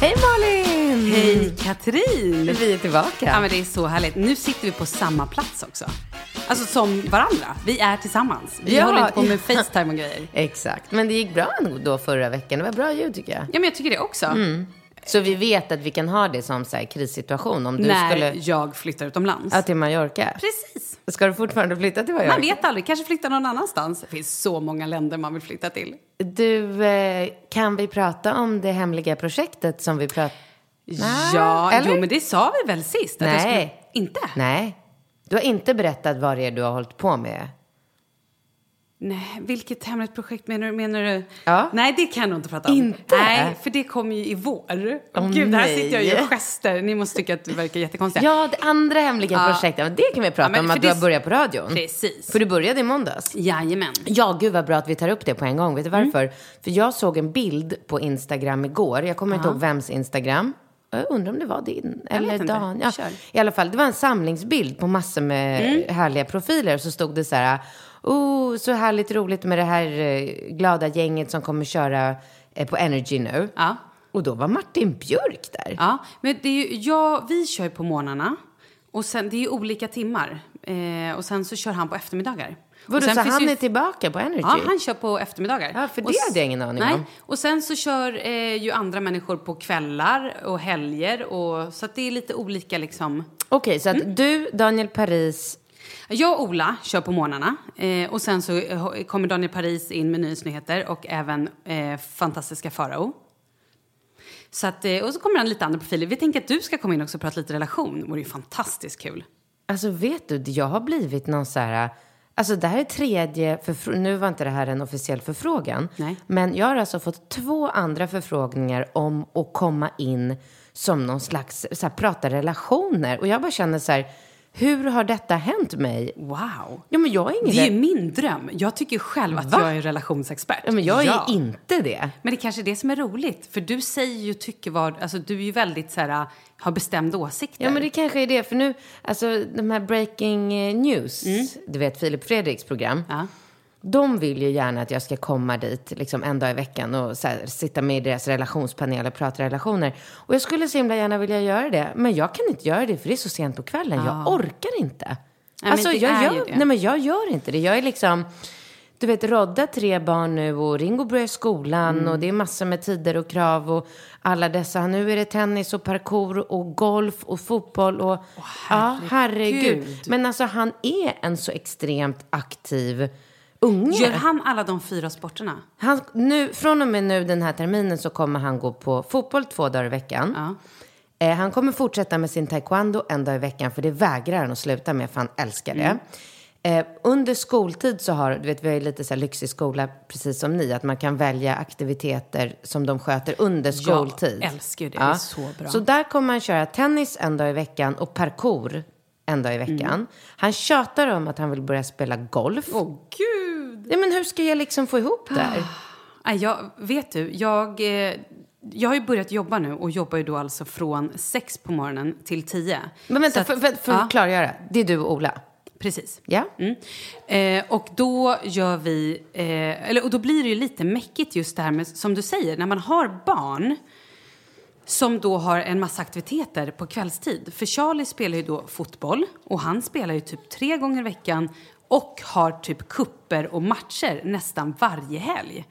Hej Malin! Hej Katrin! Vi är tillbaka. Ja men det är så härligt. Nu sitter vi på samma plats också. Alltså som varandra. Vi är tillsammans. Vi Ja. håller inte på med Facetime och grejer. Exakt. Men det gick bra ändå då förra veckan. Det var bra ljud tycker jag. Ja men jag tycker det också. Mm, Så vi vet att vi kan ha det som så här, krissituation om du När skulle... jag flyttar utomlands. Ja, till Mallorca. Precis. Ska du fortfarande flytta till Mallorca? Man vet aldrig, kanske flytta någon annanstans. Det finns så många länder man vill flytta till. Du, eh, kan vi prata om det hemliga projektet som vi pratade... ja, eller? jo men det sa vi väl sist? Att jag Nej. Skulle... Inte? Nej. Du har inte berättat vad det är du har hållit på med. Nej, vilket hemligt projekt menar du? Menar du? Ja. Nej, det kan jag nog inte prata om. Inte? Nej, för det kommer ju i vår. Åh, Gud, här nej. sitter jag och gör gester. Ni måste tycka att det verkar jättekonstigt. Ja, det andra hemliga Ja. projektet. Men Det kan vi Ja, prata men om, för att det- du har börjat på radion. Precis. För du började i måndags. Jajamän. Ja, gud vad bra att vi tar upp det på en gång. Vet du Mm. varför? För jag såg en bild på Instagram igår. Jag kommer inte ihåg vems Instagram. Jag undrar om det var din eller vet inte. Dan. Ja. Kör. Mm. I alla fall, det var en samlingsbild på massor med härliga profiler. Så stod det så här, oh, så härligt roligt med det här eh, glada gänget som kommer köra eh, på Energy nu. Ja. Och då var Martin Björk där. Ja, men det är ju, ja, vi kör ju på morgnarna och sen, det är ju olika timmar. Eh, och sen så kör han på eftermiddagar. Vadå, sen så finns han ju- är tillbaka på Energy? Ja, han kör på eftermiddagar. Ja, för Och det s- hade jag ingen aning nej. om. Och sen så kör eh, ju andra människor på kvällar och helger. Och, så att det är lite olika liksom. Okej, så att du, Daniel Paris... Jag och Ola kör på morgnarna. Eh, och sen så eh, kommer Daniel Paris in med nyhetsnyheter och även eh, fantastiska Farao. Så att, eh, och så kommer han lite andra profiler. Vi tänker att du ska komma in också och prata lite relation. Det vore ju fantastiskt kul. Alltså vet du, jag har blivit någon så här... Alltså det här är tredje, förfr- nu var inte det här en officiell förfrågan. Nej. Men jag har alltså fått två andra förfrågningar om att komma in som någon slags, så här, prata relationer. Och jag bara känner så här, hur har detta hänt mig? Wow! Ja men jag är ingen... Det är ju min dröm. Jag tycker själv att Va? jag är relationsexpert. ja, men jag är Ja. inte det. Men det kanske är det som är roligt. För du säger ju tycker vad, alltså du är ju väldigt så här, äh, har bestämda åsikter. Ja men det kanske är det, för nu, alltså de här breaking eh, news, du vet Filip Fredriks program. Mm. Ja. De vill ju gärna att jag ska komma dit liksom en dag i veckan och så här, sitta med i deras relationspanel och prata relationer. Och jag skulle så himla gärna vilja göra det, men jag kan inte göra det för det är så sent på kvällen. Jag orkar inte. men alltså, det jag är gör, ju det. Nej, men jag gör inte det. Jag är liksom, du vet, rodda tre barn nu och Ringo börjar skolan Mm. och det är massor med tider och krav och alla dessa. Nu är det tennis och parkour och golf och fotboll och... ja, herregud. herregud. Men alltså han är en så extremt aktiv unge. Gör han alla de fyra sporterna? Han, nu, från och med nu den här terminen så kommer han gå på fotboll två dagar i veckan. Eh, han kommer fortsätta med sin taekwondo en dag i veckan för det vägrar han att sluta med för han älskar Mm. det. Eh, under skoltid så har, du vet vi har ju lite så här lyxig skola precis som ni, att man kan välja aktiviteter som de sköter under skoltid. älskar ju det. Det är så bra. Så där kommer han köra tennis en dag i veckan och parkour en dag i veckan. Mm. Han tjatar om att han vill börja spela golf. Åh gud! Ja, men hur ska jag liksom få ihop det Ah. här? Nej, Äh, jag, vet du, jag, eh, jag har ju börjat jobba nu och jobbar ju då alltså från sex på morgonen till tio. Men vänta, Så att- för, för, för ja. att klargöra. Det är du och Ola. Precis. Ja? Mm. Eh, och då gör vi, eh, eller, och då blir det ju lite mäckigt just det här med, som du säger, när man har barn som då har en massa aktiviteter på kvällstid. För Charlie spelar ju då fotboll och han spelar ju typ tre gånger i veckan och har typ kupper och matcher nästan varje helg.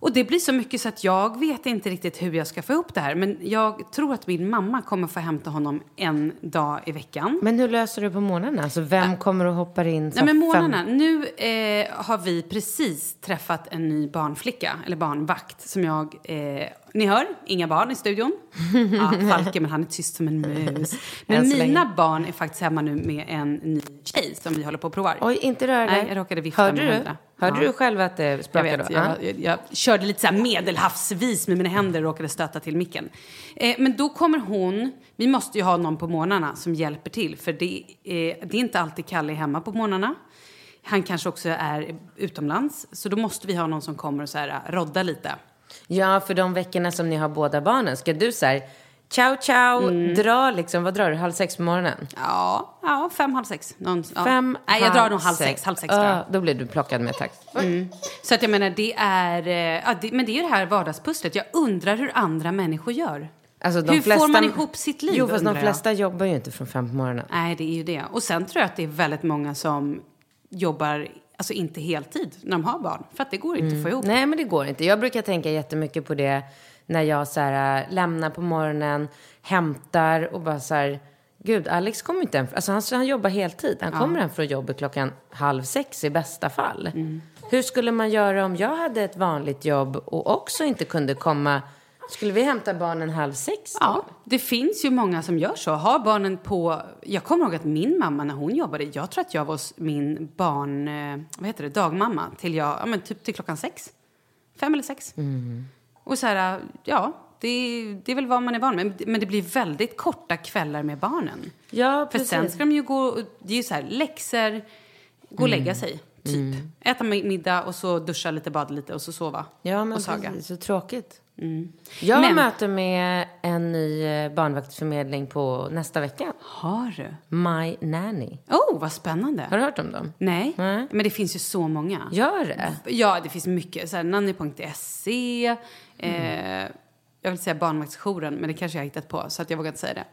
Och det blir så mycket så att jag vet inte riktigt hur jag ska få ihop det här. Men jag tror att min mamma kommer få hämta honom en dag i veckan. Men hur löser du på månaderna? Alltså vem kommer och hoppar in? så Nej, men här fem- månaderna. Nu eh, har vi precis träffat en ny barnflicka, eller barnvakt, som jag... Eh, ni hör, inga barn i studion. Ja, Falke, men han är tyst som en mus. Men Än så mina länge. barn är faktiskt hemma nu med en ny tjej som vi håller på och provar. Oj, inte röra Nej, jag råkade vifta Hörde med du? händerna. Hörde Ja. du själv att det Jag, sprakade? vet, då? jag, jag, jag körde lite så här medelhavsvis med mina händer och råkade stöta till micken. Eh, men då kommer hon... Vi måste ju ha någon på morgnarna som hjälper till. För det, eh, det är inte alltid Kalle är hemma på morgnarna. Han kanske också är utomlands. Så då måste vi ha någon som kommer och så här, eh, rodda lite. ja. ja, för de veckorna som ni har båda barnen, ska du så här, ciao ciao, Mm. dra liksom, vad drar du, halv sex på morgonen? Ja, ja fem, halv sex. Någon, ja. Fem, Ah. Nej, jag drar nog halv sex. Halv sex drar jag. Mm. Ja, då blir du plockad med tax. Så att jag menar, det är... eh, Ja, det, men det är ju det här vardagspusslet. Jag undrar hur andra människor gör. Alltså, de hur flesta- får man ihop sitt liv? Jo, fast de undrar jag. flesta jobbar ju inte från fem på morgonen. Nej, det är ju det. Och sen tror jag att det är väldigt många som jobbar, alltså inte heltid, när de har barn. För att det går inte att få ihop. Nej, men det går inte. Jag brukar tänka jättemycket på det när jag så här, äh, lämnar på morgonen, hämtar och bara så här, gud, Alex kommer inte hem. Alltså han, han jobbar heltid. Han kommer hem från jobbet klockan halv sex i bästa fall. Mm. Hur skulle man göra om jag hade ett vanligt jobb och också inte kunde komma? Skulle vi hämta barnen halv sex då? Ja, det finns ju många som gör så. Har barnen på... Jag kommer ihåg att min mamma när hon jobbade, jag tror att jag var s- min barn... eh, Vad heter det? Dagmamma. Till jag, ja men typ till klockan sex. Fem eller sex. Mm. Och så här, ja. Det, det är väl vad man är van med. Men det blir väldigt korta kvällar med barnen. Ja, För precis. sen ska de ju gå, det är ju så här läxor, gå och Mm. lägga sig, typ. Äta mi- middag och så duscha lite, bada lite och så sova. Ja, men och saga. Mm. precis. Så tråkigt. Jag har Men- möte med en ny eh, barnvaktsförmedling på nästa vecka. Har du? My Nanny. Oh, vad spännande. Har du hört om dem? Nej, Nej. men det finns ju så många. Gör det? Ja, det finns mycket. Så här, nanny.se. Eh, jag vill säga barnvaktsjouren, men det kanske jag har hittat på. Så att jag vågar inte säga det.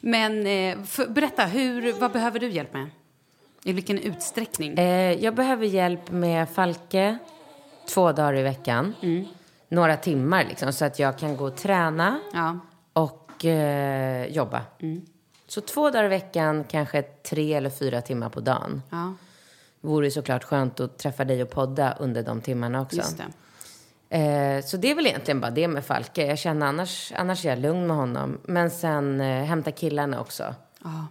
Men eh, för, berätta, hur, vad behöver du hjälp med? I vilken utsträckning? Eh, jag behöver hjälp med Falke två dagar i veckan. Mm. Några timmar liksom, så att jag kan gå och träna Ja. Mm. och eh, jobba. Så två dagar i veckan, kanske tre eller fyra timmar på dagen. Ja, Vore ju såklart skönt att träffa dig och podda under de timmarna också. just det. Eh, så det är väl egentligen bara det med Falke. Jag känner annars, annars är jag lugn med honom. Men sen eh, hämta killarna också. Ja.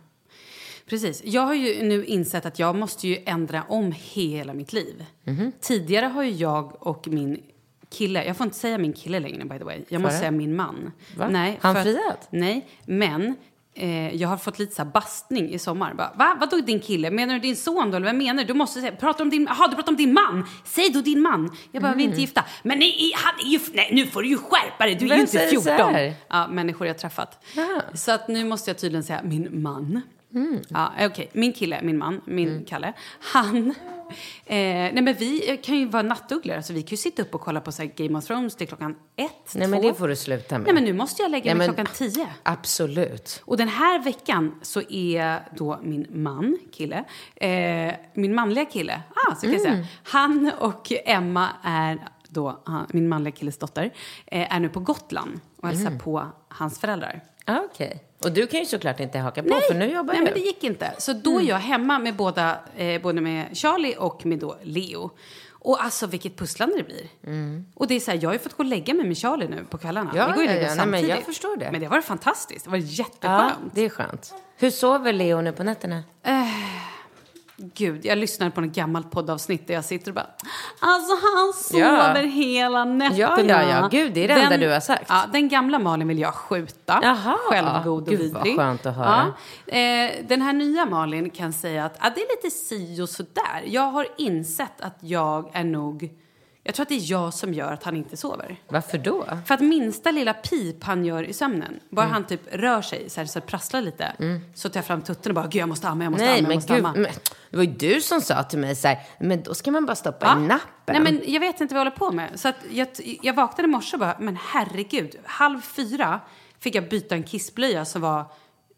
Precis. Jag har ju nu insett att jag måste ju ändra om hela mitt liv. Mhm. Tidigare har ju jag och min kille, jag får inte säga min kille längre by the way, jag måste det? säga min man. Va? Han friat? Nej, men eh, jag har fått lite så här bastning i sommar. Bara, Va? Vadå din kille? Menar du din son då? Eller vad menar du? Du måste säga, prata om din, aha, du pratar om din man. Säg då din man. Jag bara, vi är inte gifta. Men nej, han är ju, nej, nu får du ju skärpa dig. Du är Mm. Vem ju inte säger så 14. här? Ja, människor jag träffat. Ja. Mm. Så att nu måste jag tydligen säga min man. Ja, okej. Min kille, min man, min Kalle. Han... Eh, nej men vi kan ju vara nattugglor. Alltså vi kan ju sitta upp och kolla på så här Game of Thrones till klockan ett, två. Nej, men det får du sluta med. Nej men nu måste jag lägga Nej, mig men- klockan tio. Absolut. Och den här veckan så är då min man, kille, eh, min manliga kille, ah, så kan jag Mm. säga. han och Emma är då, han, min manliga killes dotter, eh, är nu på Gotland och hälsar Mm. på hans föräldrar. Ah, Okej. Och du kan ju såklart inte haka på, för nu jobbar Nej, jag. Mm. men det gick inte. Så då är jag hemma med båda, eh, både med Charlie och med då Leo. Och alltså vilket pusslande det blir. Och det är så här, jag har ju fått gå och lägga mig med Charlie nu på kvällarna. Mm. Ja, Vi går ju och ja, lägger oss ja. Nej, men samtidigt. jag förstår det. Men det var fantastiskt. Det var jätteskönt. Ja, det är skönt. Hur sover Leo nu på nätterna? Gud, jag lyssnade på något gammalt poddavsnitt där jag sitter och bara... Alltså han Ja. sover hela nätterna. Ja, ja, ja. Gud, det är det enda du har sagt. Ja, den gamla Malin vill jag skjuta. Jaha. Självgod och Gud, vidrig. vad skönt att höra. Ja. Eh, den här nya Malin kan säga att ah, det är lite si och sådär. Jag har insett att jag är nog... Jag tror att det är jag som gör att han inte sover. Varför då? För att minsta lilla pip han gör i sömnen, bara Mm. han typ rör sig så, här, så att det prasslar lite, så tar jag fram tutten och bara, gud jag måste amma, jag måste Nej, amma, jag men måste gud. amma. Men, det var ju du som sa till mig så här, men då ska man bara stoppa i nappen. Nej, men jag vet inte vad jag håller på med. Så att jag, jag vaknade i morse och bara, men herregud, halv fyra fick jag byta en kissblöja som var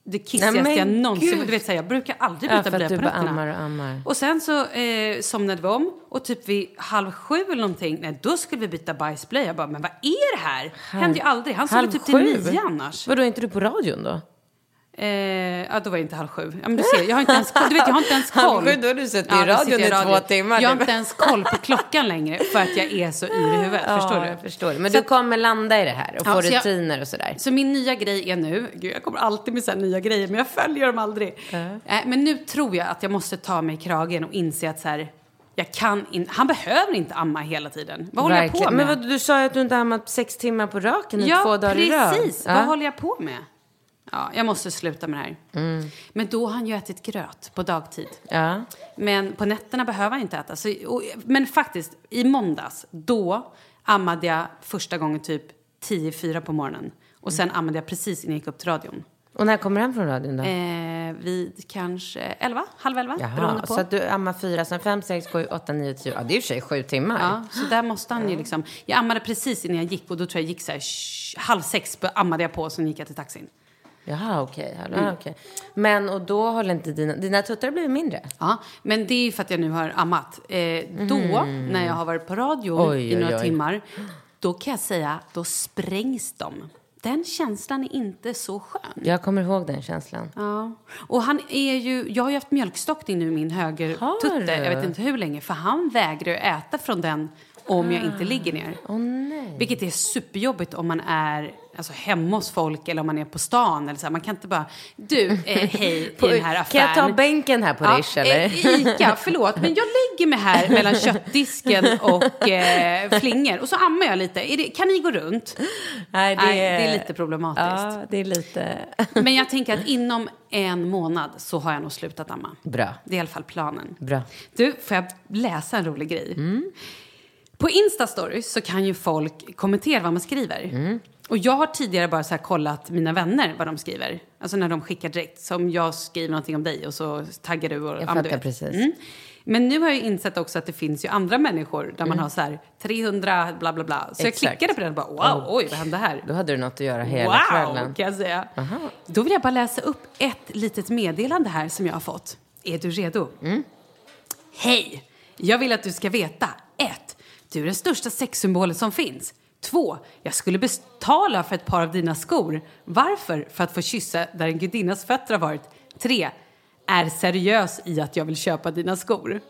det kissigaste Nej, men jag någonsin... gud. Du vet, så här, jag brukar aldrig Ja, byta för att blöja på du bara nätterna. ammar och ammar. Och sen så eh, somnade vi om och typ vid halv sju eller någonting, nej då skulle vi byta bajsblöja. Jag bara, men vad är det här? Händer ju aldrig. Han sover Halv typ till sju? nio annars. Vadå, är inte du på radion då? Eh, ja, då var det inte halv sju. Ja, men du ser, jag har inte ens koll. Du vet, jag har inte ens koll. Halv sju, då har du suttit i då radion sitter jag i två timmar. Jag har inte ens koll på klockan längre för att jag är så yr i huvudet. förstår Ja, du? jag förstår. Men Så du att- kommer landa i det här och Ja, få så jag- rutiner och sådär. Så min nya grej är nu, gud jag kommer alltid med så här nya grejer men jag följer dem aldrig. Eh, men nu tror jag att jag måste ta mig i kragen och inse att så här, jag kan in, han behöver inte amma hela tiden. Vad håller jag på med? Men vad, du sa ju att du inte har ammat sex timmar på raken i ja, två dagar i rad. precis. Ja. Vad håller jag på med? Ja, jag måste sluta med det här. Mm. Men då har han ju ätit gröt på dagtid. Ja. Men på nätterna behöver han inte äta. Så, och, men faktiskt, i måndags, då ammade jag första gången typ 10-4 på morgonen. Och Mm. sen ammade jag precis innan jag gick upp till radion. Och när kommer han från radion då? Eh, vid kanske 11, halv 11, beroende Jaha, på. så att du ammar fyra, sen fem, sex, sju, åtta, nio, tio. Ja, det är i och för sig sju timmar. Ja, så där måste han ju liksom... Jag ammade precis innan jag gick och då tror jag gick så här, sh- halv sex bör- ammade jag på och sen gick jag till taxin. Jaha, okej. Okay. Mm. Men och då håller inte dina... Dina tuttar har blivit mindre? Ja, men det är ju för att jag nu har ammat. Eh, då, när jag har varit på radio Mm. Oj, i några oj, oj. timmar, då kan jag säga, då sprängs de. Den känslan är inte så skön. Jag kommer ihåg den känslan. Ja. Och han är ju, jag har ju haft mjölkstockning nu i min Har högertutte, du? jag vet inte hur länge, för han vägrar ju äta från den om jag inte ligger ner. Ah. Åh nej. Vilket är superjobbigt om man är alltså, hemma hos folk eller om man är på stan. Eller så här. Man kan inte bara, du, eh, hej, i den här Kan affären. jag ta bänken här på Rish Ja, eller? eh, Ica, förlåt, men jag lägger mig här mellan köttdisken och eh, flingor. Och så ammar jag lite. Är det, kan ni gå runt? Nej, Nej, det är lite problematiskt. Ja, det är lite... Men jag tänker att inom en månad så har jag nog slutat amma. Bra. Det är i alla fall planen. Bra. Mm. Du, får jag läsa en rolig grej? På Instastories så kan ju folk kommentera vad man skriver. Mm. Och jag har tidigare bara så här kollat mina vänner vad de skriver. Alltså när de skickar direkt. Som jag skriver någonting om dig och så taggar du och... Jag men du fattar vet. Mm. precis. Men nu har jag insett också att det finns ju andra människor där man har så här 300 bla bla bla. Så Mm. Exakt. jag klickade på den och bara wow, oj vad hände här? Då hade du något att göra hela wow, kvällen. kan jag säga. Då vill jag bara läsa upp ett litet meddelande här som jag har fått. Är du redo? Mm. Hej! Jag vill att du ska veta. 1. Du är den största sexsymbolen som finns. 2. Jag skulle betala för ett par av dina skor. Varför? För att få kyssa där en gudinnas fötter har varit. 3. Är seriös i att jag vill köpa dina skor.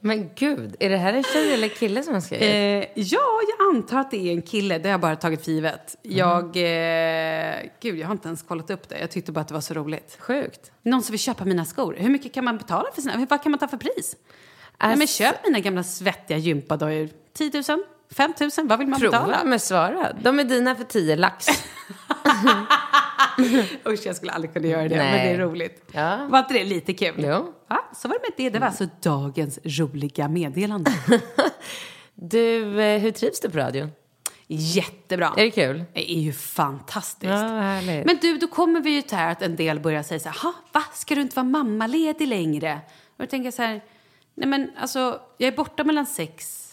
Men gud, är det här en tjej eller kille som har skrivit? Eh, ja, jag antar att det är en kille. Det har jag bara tagit för givet. Mm. Jag... Eh, gud, jag har inte ens kollat upp det. Jag tyckte bara att det var så roligt. Sjukt. Någon som vill köpa mina skor. Hur mycket kan man betala för sina? Vad kan man ta för pris? Nej, men Alltså- köp mina gamla svettiga gympadojor. 10 000? 5 000? Vad vill man Prova betala? med svara. De är dina för 10 lax. Usch, jag skulle aldrig kunna göra det, men Nej. det är roligt. Ja. Var inte det lite kul? Jo. Ja, så var det med det. Det var alltså dagens roliga meddelande. Du, eh, hur trivs du på radion? Jättebra. Är det kul? Det är ju fantastiskt. Ja, vad härligt. Men du, då kommer vi ju till här att en del börjar säga så här, "Ha, va, ska du inte vara mammaledig längre? Och då tänker jag så här, nej men alltså, jag är borta mellan sex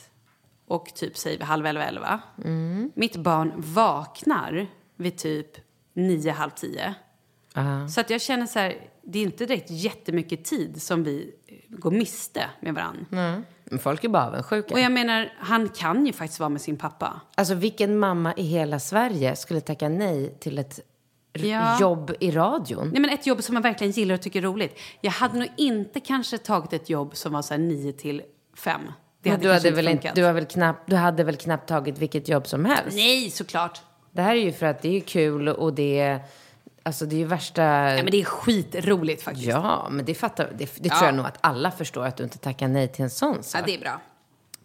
och typ säger vi halv elva, elva. Mm. Mitt barn vaknar vid typ nio, halv tio. Så att jag känner så här, det är inte direkt jättemycket tid som vi eh, går miste med varandra. Men Folk är bara avundsjuka. Och jag menar, han kan ju faktiskt vara med sin pappa. Alltså vilken mamma i hela Sverige skulle tacka nej till ett r- Ja. jobb i radion? Nej, men ett jobb som man verkligen gillar och tycker är roligt. Jag hade nog inte kanske tagit ett jobb som var så här 9 till 5. Det Men hade du, kanske hade väl inte, funkat. du, har väl knappt, du hade väl knappt tagit vilket jobb som helst? Nej, såklart. Det här är ju för att det är kul och det är, alltså det är ju värsta... Nej, men det är skitroligt faktiskt. Ja. Ja, men det fattar, det, det tror jag nog att alla förstår att du inte tackar nej till en sån sak. det är bra.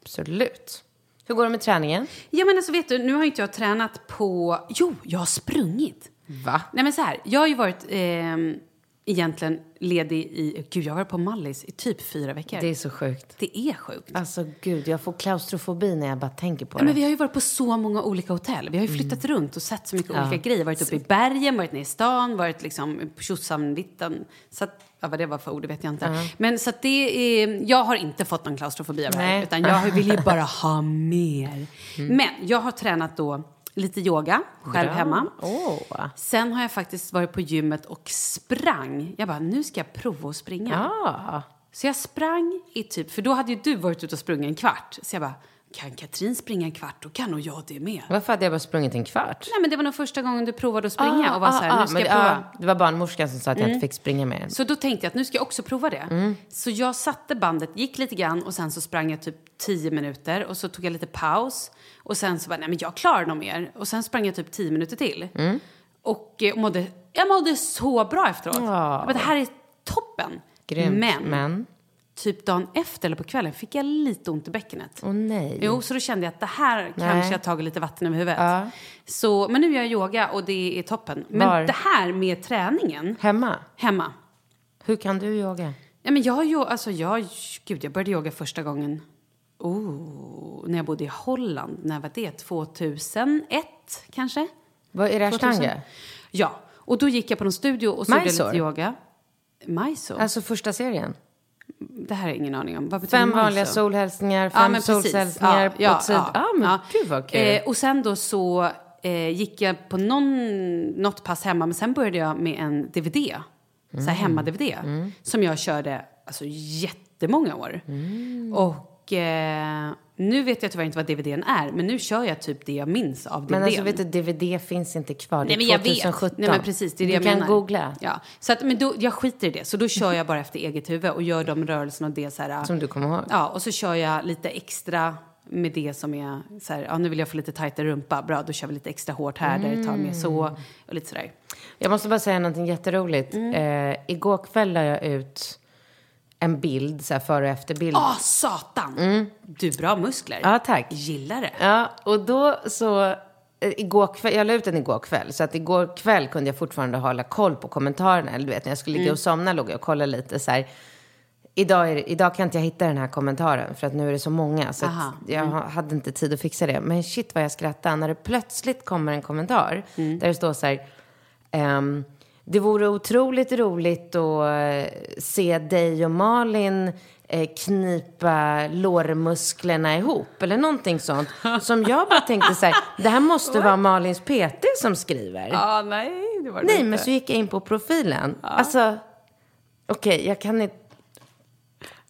Absolut. Hur går det med träningen? Ja, men alltså vet du, nu har ju inte jag tränat på... Jo, jag har sprungit. Va? Nej, men så här. Jag har ju varit ehm, egentligen ledig i... Gud, jag har varit på Mallis i typ fyra veckor. Det är så sjukt. det är sjukt. Alltså gud, jag får klaustrofobi när jag bara tänker Ja, på det. Mm. men vi har ju varit på så många olika hotell. Vi har ju flyttat runt och sett så mycket olika grejer. Varit uppe i bergen, varit nere i stan, varit liksom på Tjosamvitten. Så att, ja, vad det var för ord det vet jag inte. Men så att det är, jag har inte fått någon klaustrofobi av det här. Nej. Mm. Utan jag vill ju bara ha mer. Men jag har tränat då lite yoga själv hemma. Åh. Sen har jag faktiskt varit på gymmet och sprang. Jag bara, nu ska jag prova att springa. Ja. Så jag sprang i typ, för då hade ju du varit ute och sprungit en kvart. Så jag bara, kan Katrin springa en kvart, då kan nog jag det med. Varför hade jag bara sprungit en kvart? Nej men det var nog första gången du provade att springa Ah, och var så här, ah, nu ska men jag det- prova. ah, Mm. det var barnmorskan som sa att jag inte fick springa mer. Så då tänkte jag att nu ska jag också prova det. Mm. Så jag satte bandet, gick lite grann och sen så sprang jag typ 10 minuter och så tog jag lite paus. Och sen så bara, nej men jag klarar nog mer. Och sen sprang jag typ 10 minuter till. Mm. Och eh, mådde, jag mådde så bra efteråt. Jag bara, det här är toppen. Ah. Grymt. Men, Men. typ dagen efter eller på kvällen fick jag lite ont i bäckenet. Åh nej. Jo, så då kände jag att det här kanske jag tagit lite vatten över huvudet. Ja. Så, men nu gör jag yoga och det är toppen. Men Var? det här med träningen Hemma? hemma. Hur kan du yoga? Ja, men jag, har ju- alltså, jag, gud, jag började yoga första gången oh, när jag bodde i Holland. När var det? 2001 kanske? Vad är det ashtanga? 2000? Ja, och då gick jag på någon studio och så gjorde jag Mysore? lite yoga. Mysore? Alltså första Mm, serien? det här är ingen aning om. Vad betyder Fem Mysore? vanliga solhälsningar, alltså. Ja, fem men precis. solhälsningar Ja, på ja, tid. Ja, ja, Ah, men ja. gud vad kul. Eh, och sen då så eh, gick jag på någon, något pass hemma, men sen började jag med en DVD. Så Mm. här hemma-DVD. Som jag körde alltså, jättemånga år. Mm. Och eh, nu vet jag tyvärr inte vad DVDn är, men nu kör jag typ det jag minns av DVDn. men alltså vet du, DVD finns inte kvar. Det Nej, är men jag 2017. vet. Nej, men precis, det är det du jag kan menar. googla. Ja. Så att, men då, jag skiter i det, så då kör jag bara efter eget huvud och gör de rörelserna och det så här. Som du kommer ihåg. Ja, och så kör jag lite extra med det som är så här, ja nu vill jag få lite tajtare rumpa, bra då kör vi lite extra hårt här där det tar mer så och lite sådär. Jag måste bara säga någonting jätteroligt. Mm. Eh, igår kväll la jag ut en bild, så här före och efterbild. Ah, satan! Du, bra muskler. Mm. Ja, tack. Gillar det. Ja, och då så... eh, Igår kväll, jag la ut den igår kväll, så att igår kväll kunde jag fortfarande hålla koll på kommentarerna. Eller du vet, när jag skulle ligga och somna låg jag och kollade lite så här. Idag, är det, idag kan inte jag hitta den här kommentaren för att nu är det så många. Så Aha, att jag ha- hade inte tid att fixa det. Men shit vad jag skrattade när det plötsligt kommer en kommentar. Där det står så här. ehm, det vore otroligt roligt att eh, se dig och Malin eh, knipa lårmusklerna ihop. Eller någonting sånt. Som jag bara tänkte så här. Det här måste vara Malins PT som skriver. ah, nej, det var det Nej, men så gick jag in på profilen. Alltså, okej, jag kan inte...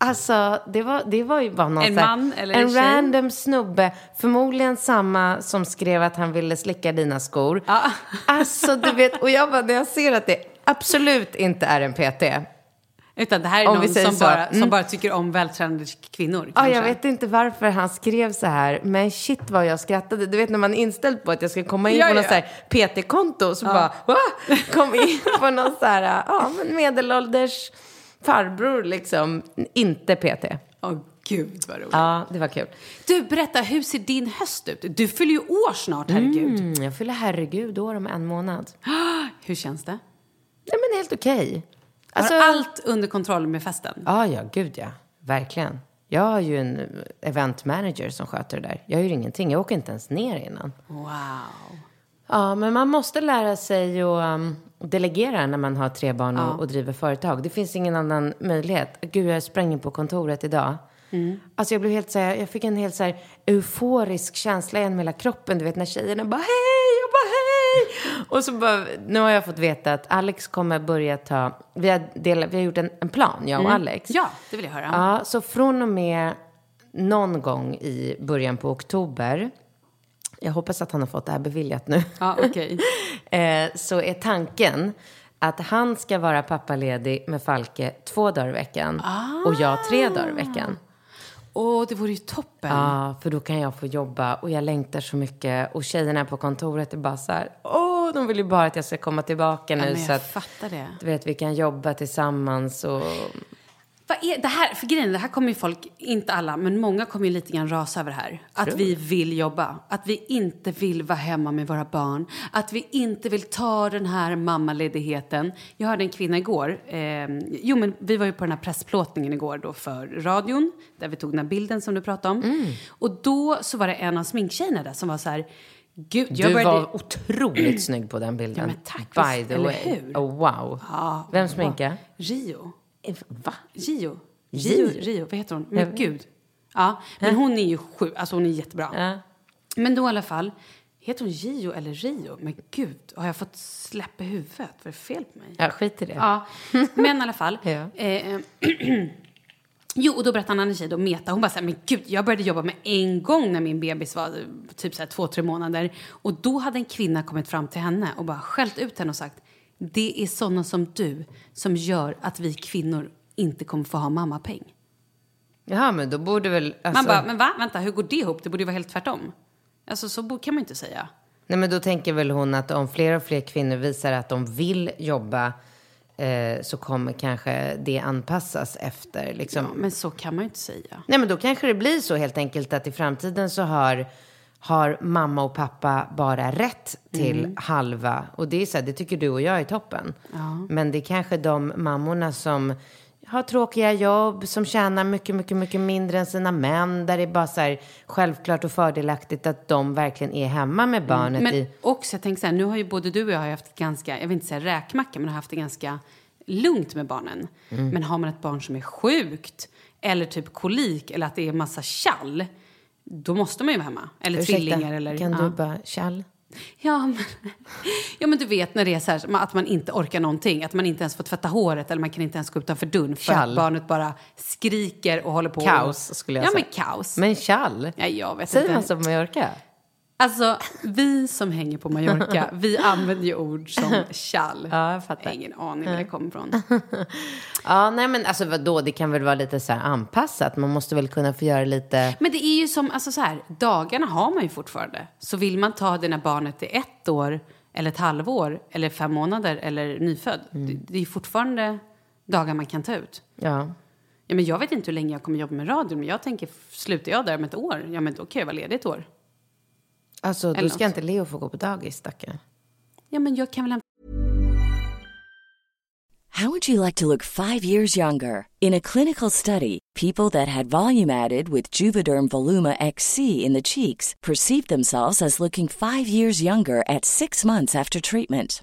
Alltså, det var, det var ju bara någon En så här- man eller en en tjej? random snubbe. Förmodligen samma som skrev att han ville slicka dina skor. Ja. Alltså, du vet, och jag bara, när jag ser att det absolut inte är en PT. Utan det här är Om vi någon säger som, så. bara, som Mm. bara tycker om vältränade kvinnor. Ja, kanske. Ah, jag vet inte varför han skrev så här, men shit vad jag skrattade. Du vet när man är inställd på att jag ska komma in Ja, på något ja. så här PT-konto så bara, "Va?" kom in på någon så här, ja men medelålders farbror liksom, inte PT. Åh gud vad roligt. Ja, det var kul. Du, berätta, hur ser din höst ut? Du fyller ju år snart, herregud. Mm, jag fyller herregud år om en månad. Hur känns det? Nej men helt okej. Alltså- Har allt under kontroll med festen? Ja, ja, gud ja. Verkligen. Jag har ju en event manager som sköter det där. Jag gör ingenting. Jag åker inte ens ner innan. Wow. Ja, men man måste lära sig att um, delegera när man har tre barn och, och driver företag. Det finns ingen annan möjlighet. Gud, jag sprang in på kontoret idag. Mm. Alltså jag blev helt så här, jag fick en helt så här euforisk känsla genom hela kroppen. Du vet när tjejerna bara hej, jag bara hej. Och så bara, nu har jag fått veta att Alex kommer börja ta, vi har, delat, vi har gjort en, en plan, jag och Alex. Mm. Ja, det vill jag höra. Ja, så från och med någon gång i början på oktober, jag hoppas att han har fått det här beviljat nu, Ja, okej. eh, så är tanken att han ska vara pappaledig med Falke två dagar i veckan och jag tre dagar Ah. i veckan. Åh, det vore ju toppen. Ja, för då kan jag få jobba och jag längtar så mycket och tjejerna på kontoret är bara så här, åh, de vill ju bara att jag ska komma tillbaka nu men jag så att fattar det. du vet, vi kan jobba tillsammans och Vad är det här? För grejen, är, det här kommer ju folk, inte alla, men många kommer ju lite grann rasa över det här. Att vi vill jobba, att vi inte vill vara hemma med våra barn, att vi inte vill ta den här mammaledigheten. Jag hörde en kvinna igår, eh, jo men vi var ju på den här pressplåtningen igår då för radion, där vi tog den här bilden som du pratade om. Mm. Och då så var det en av sminktjejerna där som var så här, gud, jag du började... var otroligt snygg på den bilden. Ja, men tack, By visst, the eller way. hur? Oh, wow. Ja, Vem sminkade? Rio. Eh, Va? Gio. Gio? Eh, Gio, Rio, vad heter hon? Men gud. Ja, men hon är ju sju, alltså hon är jättebra. Ja. Men då i alla fall, heter hon Gio eller Rio? Men gud, har jag fått släpp i huvudet? Vad är det fel på mig? Ja, skit i det. Ja, men i alla fall. Ja. Eh, eh, jo, och då berättade en annan tjej, då, Meta, hon bara så här, men gud, jag började jobba med en gång när min bebis var eh, typ så här två, tre månader. Och då hade en kvinna kommit fram till henne och bara skällt ut henne och sagt, det är sådana som du som gör att vi kvinnor inte kommer få ha mammapeng. Jaha, men då borde väl... Alltså, Man bara, men va, vänta, hur går det ihop? Det borde ju vara helt tvärtom. Alltså så bo- kan man ju inte säga. Nej, men då tänker väl hon att om fler och fler kvinnor visar att de vill jobba eh, så kommer kanske det anpassas efter. Liksom. Ja, men så kan man ju inte säga. Nej, men då kanske det blir så helt enkelt att i framtiden så har, har mamma och pappa bara rätt till Mm. halva. Och det är så här, det tycker du och jag är toppen. Men det är kanske de mammorna som har tråkiga jobb, som tjänar mycket, mycket, mycket mindre än sina män. Där det är bara så här självklart och fördelaktigt att de verkligen är hemma med barnet Mm. Men i... också, jag tänker så här, nu har ju både du och jag har ju haft ganska, jag vill inte säga räkmacka, men har haft det ganska lugnt med barnen. Mm. Men har man ett barn som är sjukt, eller typ kolik, eller att det är massa tjall, då måste man ju vara hemma. Eller tvillingar eller... kan ja. du bara... Kjell? Ja men, ja, men du vet när det är så här, att man inte orkar någonting, att man inte ens får tvätta håret eller man kan inte ens gå utanför dörren för Tjall. att barnet bara skriker och håller på. Kaos, skulle jag ja, säga. Ja, men kaos. Men Kjell? ja, jag vet Säger inte. man så på Mallorca? Alltså, vi som hänger på Mallorca, vi använder ju ord som tjall. Ja, jag fattar. har ingen aning var det kommer ifrån. Ja, nej men alltså vadå, det kan väl vara lite så här anpassat. Man måste väl kunna få göra lite... Men det är ju som, alltså så här, dagarna har man ju fortfarande. Så vill man ta det när barnet är ett år, eller ett halvår, eller fem månader, eller nyfödd. Mm. Det, det är ju fortfarande dagar man kan ta ut. Ja. Ja, men jag vet inte hur länge jag kommer jobba med radion, men jag tänker, slutar jag där om ett år, ja men då kan jag vara ledig ett år. Alltså, Eller då ska något. inte Leo få gå på dagis, stackarn. Ja, men jag kan väl hämta How would you like to look five years younger? In a clinical study, people that had volume added with Juvederm Voluma XC in the cheeks perceived themselves as looking five years younger at six months after treatment.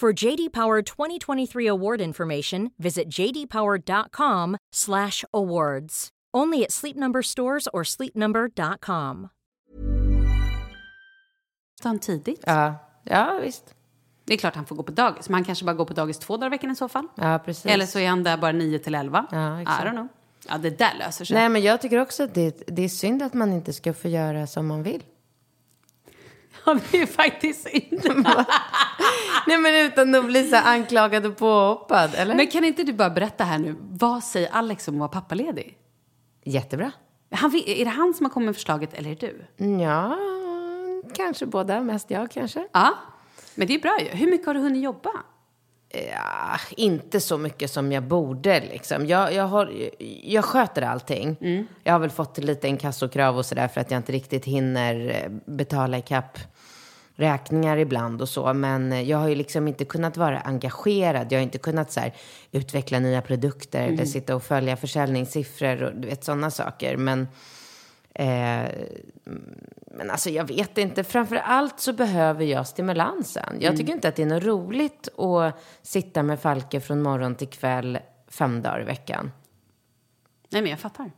For JD Power 2023 award information, visit jdpower.com/awards. Only at Sleep Number stores or sleepnumber.com. Han tidigt. Ja, ja visst. Det är klart han får gå på dagis, men han kanske bara går på dagis två dagar i veckan i så fall. Ja, precis. Eller så är han där bara 9 till 11. Ja, exakt. I don't know. Ja, det där löser sig. Nej, men jag tycker också att det, det är synd att man inte ska få göra som man vill. Ja, det är faktiskt inte... Nej, men utan att bli så här anklagad och påhoppad, eller? Men kan inte du bara berätta här nu, vad säger Alex om att vara pappaledig? Jättebra. Han, vill- är det han som har kommit med förslaget eller är det du? Ja, kanske båda. Mest jag kanske. Ja, men det är bra ju. Hur mycket har du hunnit jobba? Ja, inte så mycket som jag borde liksom. Jag, jag, har, jag sköter allting. Jag har väl fått lite inkassokrav och sådär för att jag inte riktigt hinner eh, betala ikapp räkningar ibland och så. Men eh, jag har ju liksom inte kunnat vara engagerad. Jag har inte kunnat så här, utveckla nya produkter eller sitta och följa försäljningssiffror och du vet sådana saker. Men eh, men alltså jag vet inte. Framför allt så behöver jag stimulansen. Jag Mm. tycker inte att det är något roligt att sitta med Falke från morgon till kväll fem dagar i veckan. Nej, men jag fattar.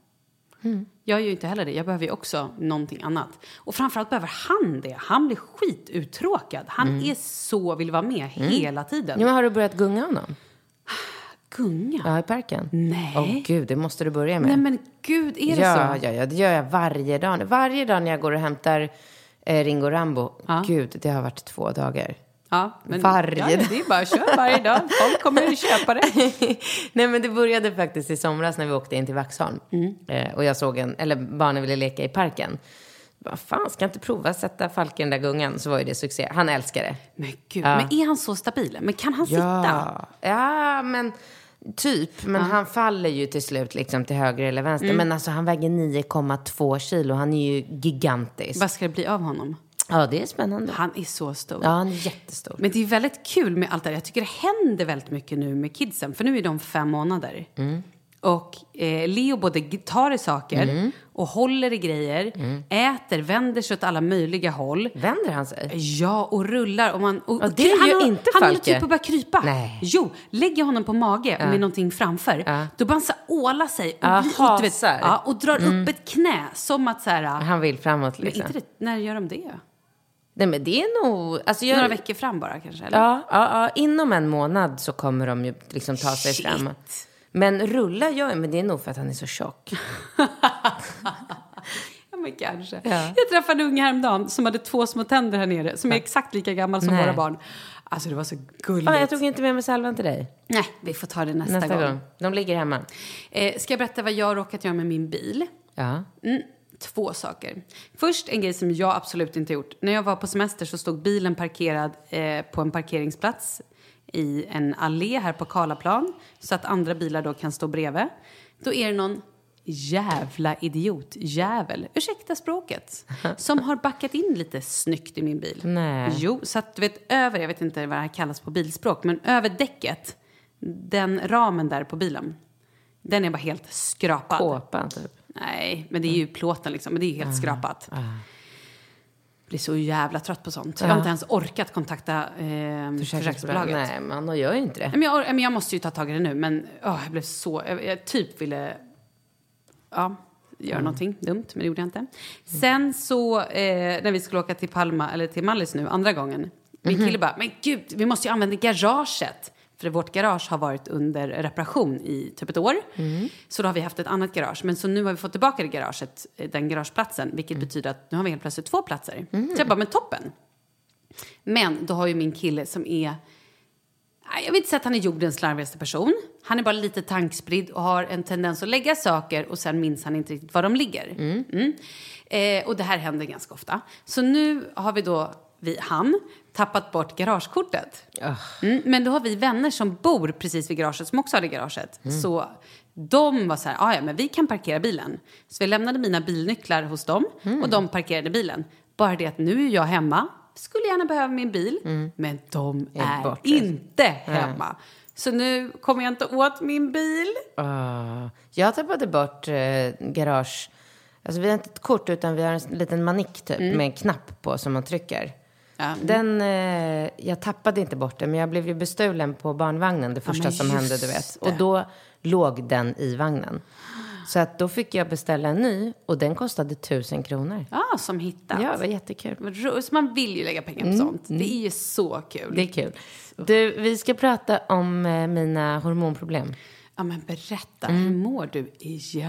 Mm. Jag gör ju inte heller det. Jag behöver ju också någonting annat. Och framförallt behöver han det. Han blir skituttråkad. Han Mm. är så, vill vara med hela tiden. Nu har du börjat gunga honom? Gunga? Ja, i parken? Nej. Åh gud, det måste du börja med. Nej men gud, är det ja, så? ja, ja, det gör jag varje dag. nu. Varje dag när jag går och hämtar eh, Ringo Rambo. Ja. Gud, det har varit två dagar. Ja, men, Varje ja, ja, dag. det är bara att köra varje dag. Folk kommer att köpa det. Nej men det började faktiskt i somras när vi åkte in till Vaxholm. Mm. Eh, och jag såg en, eller barnen ville leka i parken. Vad fan, ska jag inte prova att sätta Falken i den där gungan? Så var ju det succé. Han älskar det. Men gud, men är han så stabil? Men kan han sitta? Ja, ja men typ. Men han faller ju till slut liksom till höger eller vänster. Mm. Men alltså han väger 9,2 kilo. Han är ju gigantisk. Vad ska det bli av honom? Ja, det är spännande. Han är så stor. Ja, han är jättestor. Men det är väldigt kul med allt det här. Jag tycker det händer väldigt mycket nu med kidsen. För nu är de fem månader. Mm. Och eh, Leo både tar i saker Mm. och håller i grejer. Äter, vänder sig åt alla möjliga håll. Vänder han sig? Ja, och rullar. Och man, och, Ja, det han, gör har- inte Han håller Falke. typ på att börja krypa. Nej. Jo, lägger jag honom på mage med någonting framför, då bara han så här ålar sig och, Ja, blir- och, hasar. ja, och drar upp ett knä som att så här... Han vill framåt men liksom. inte det, när gör de det? Nej, men det är nog... Alltså, jag... Några veckor fram bara kanske? Eller? Ja, ja, ja, inom en månad så kommer de ju liksom ta sig Shit. fram. Men rulla gör jag, men det är nog för att han är så tjock. Ja, men kanske. Jag träffade en unge häromdagen som hade två små tänder här nere som är exakt lika gammal som Nej. våra barn. Alltså det var så gulligt. Fan, jag tog inte med mig salvan till dig. Nej, vi får ta det nästa, Nästa gång. gång. De ligger hemma. Eh, ska jag berätta vad jag har råkat göra med min bil? Ja. Mm, två saker. Först en grej som jag absolut inte gjort. När jag var på semester så stod bilen parkerad eh, på en parkeringsplats i en allé här på Karlaplan så att andra bilar då kan stå bredvid. Då är det någon jävla idiot, jävel, ursäkta språket, som har backat in lite snyggt i min bil. Nej. Jo, så att du vet över, jag vet inte vad det här kallas på bilspråk, men över däcket, den ramen där på bilen, Den är bara helt skrapad. Kåpan typ. Nej, men det är ju plåten liksom. Men det är ju helt skrapat. Blir så jävla trött på sånt. Jag har inte ens orkat kontakta eh, försäkringsbolaget. Nej. Nej, man och gör ju inte det. Men jag, or- men jag måste ju ta tag i det nu, men åh, jag blev så... Jag, jag typ ville... Ja, göra någonting dumt, men det gjorde jag inte. Sen så, eh, när vi skulle åka till Palma, eller till Mallis nu, andra gången. Min kille bara, men gud, vi måste ju använda garaget. För vårt garage har varit under reparation i typ ett år. Så då har vi haft ett annat garage. Men så nu har vi fått tillbaka det garaget, eh, den garageplatsen. Vilket betyder att nu har vi helt plötsligt två platser. Så jag bara, men toppen. Men då har ju min kille som är... Nej, Jag vill inte säga att han är jordens slarvigaste person. Han är bara lite tankspridd och har en tendens att lägga saker och sen minns han inte riktigt var de ligger. Mm. Eh, och det här händer ganska ofta. Så nu har vi då, vi, han, tappat bort garagekortet. Mm, men då har vi vänner som bor precis vid garaget som också har det garaget. Mm. Så de var så här, "Ah, ja men vi kan parkera bilen. Så vi lämnade mina bilnycklar hos dem Mm. och de parkerade bilen. Bara det att nu är jag hemma, skulle gärna behöva min bil, Mm. men de är borta. inte hemma. Så nu kommer jag inte åt min bil. Ah, jag tappade bort eh, garage... Alltså vi har inte ett kort utan vi har en s- liten manick typ med en knapp på som man trycker. Den, eh, jag tappade inte bort den men jag blev ju bestulen på barnvagnen det första men som hände du vet. just Och det. då låg den i vagnen. Så att då fick jag beställa en ny och den kostade tusen kronor. Ja, som hittat. Ja, det var jättekul. Vad ro- Så man vill ju lägga pengar på sånt. Det är ju så kul. Det är kul. Du, vi ska prata om eh, mina hormonproblem. Ja, men berätta, Mm. hur mår du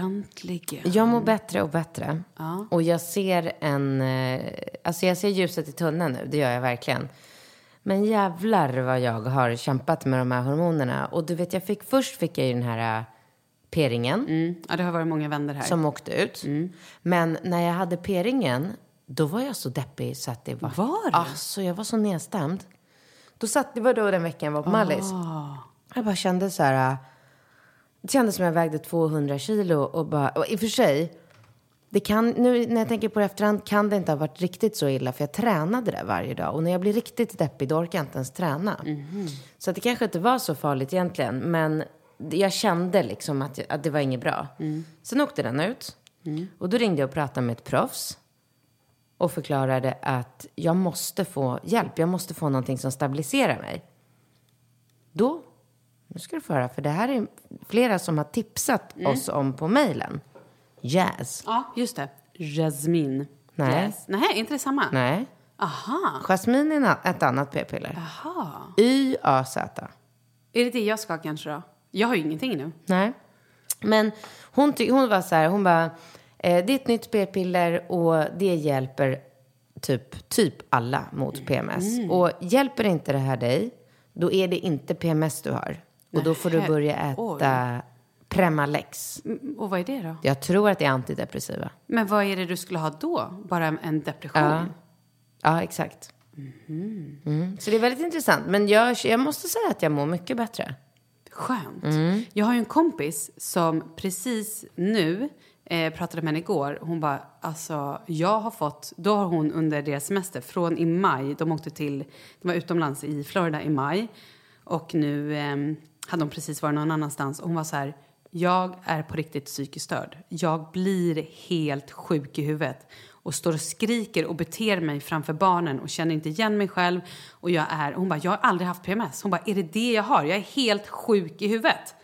egentligen? Jag mår bättre och bättre. Och jag ser en... eh, Alltså jag ser ljuset i tunneln nu, det gör jag verkligen. Men jävlar vad jag har kämpat med de här hormonerna. Och du vet, jag fick, först fick jag ju den här eh, p-ringen Mm. Ja, det har varit många vänner här. som åkte ut. Men när jag hade p-ringen, då var jag så deppig så att det var... Var du? Alltså, jag var så nedstämd. Då satt, det var då den veckan jag var på Mallis. Jag bara kände så här... äh, Det kändes som jag vägde 200 kilo och bara... Och I och för sig, det kan, nu när jag tänker på det i efterhand kan det inte ha varit riktigt så illa för jag tränade det varje dag. Och när jag blir riktigt deppig då orkar jag inte ens träna. Så att det kanske inte var så farligt egentligen. Men det- jag kände liksom att, jag, att det var inget bra. Sen åkte den ut. Och då ringde jag och pratade med ett proffs. Och förklarade att jag måste få hjälp. Jag måste få någonting som stabiliserar mig. Då, nu ska du få höra, för det här är flera som har tipsat oss om på mejlen. Jazz. Ja, just det. Jasmine. Nej. Nej, inte det samma? Nej. Aha. Jasmin är na- ett annat p-piller. Aha. YAZ. Är det det jag ska ha kanske då? Jag har ju ingenting nu. Nej. Men hon, ty- hon var så här, hon bara, eh, det är ett nytt p-piller och det hjälper typ, typ alla mot PMS. Och hjälper inte det här dig, då är det inte PMS du har. Och då får du Nähä. börja äta Premalex. Mm, Och vad är det då? Jag tror att det är antidepressiva. Men vad är det du skulle ha då? Bara en- en depression? Ja, ja exakt. Mm. Så det är väldigt intressant. Men jag, jag måste säga att jag mår mycket bättre. Skönt. Mm. Jag har ju en kompis som precis nu, eh, pratade med henne igår, hon bara, alltså jag har fått, då har hon under deras semester från i maj, de åkte till, de var utomlands i Florida i maj och nu eh, hade de precis varit någon annanstans och hon var så här, jag är på riktigt psykiskt störd. Jag blir helt sjuk i huvudet och står och skriker och beter mig framför barnen och känner inte igen mig själv. Och jag är, hon bara, jag har aldrig haft PMS. Hon bara, är det det jag har? Jag är helt sjuk i huvudet.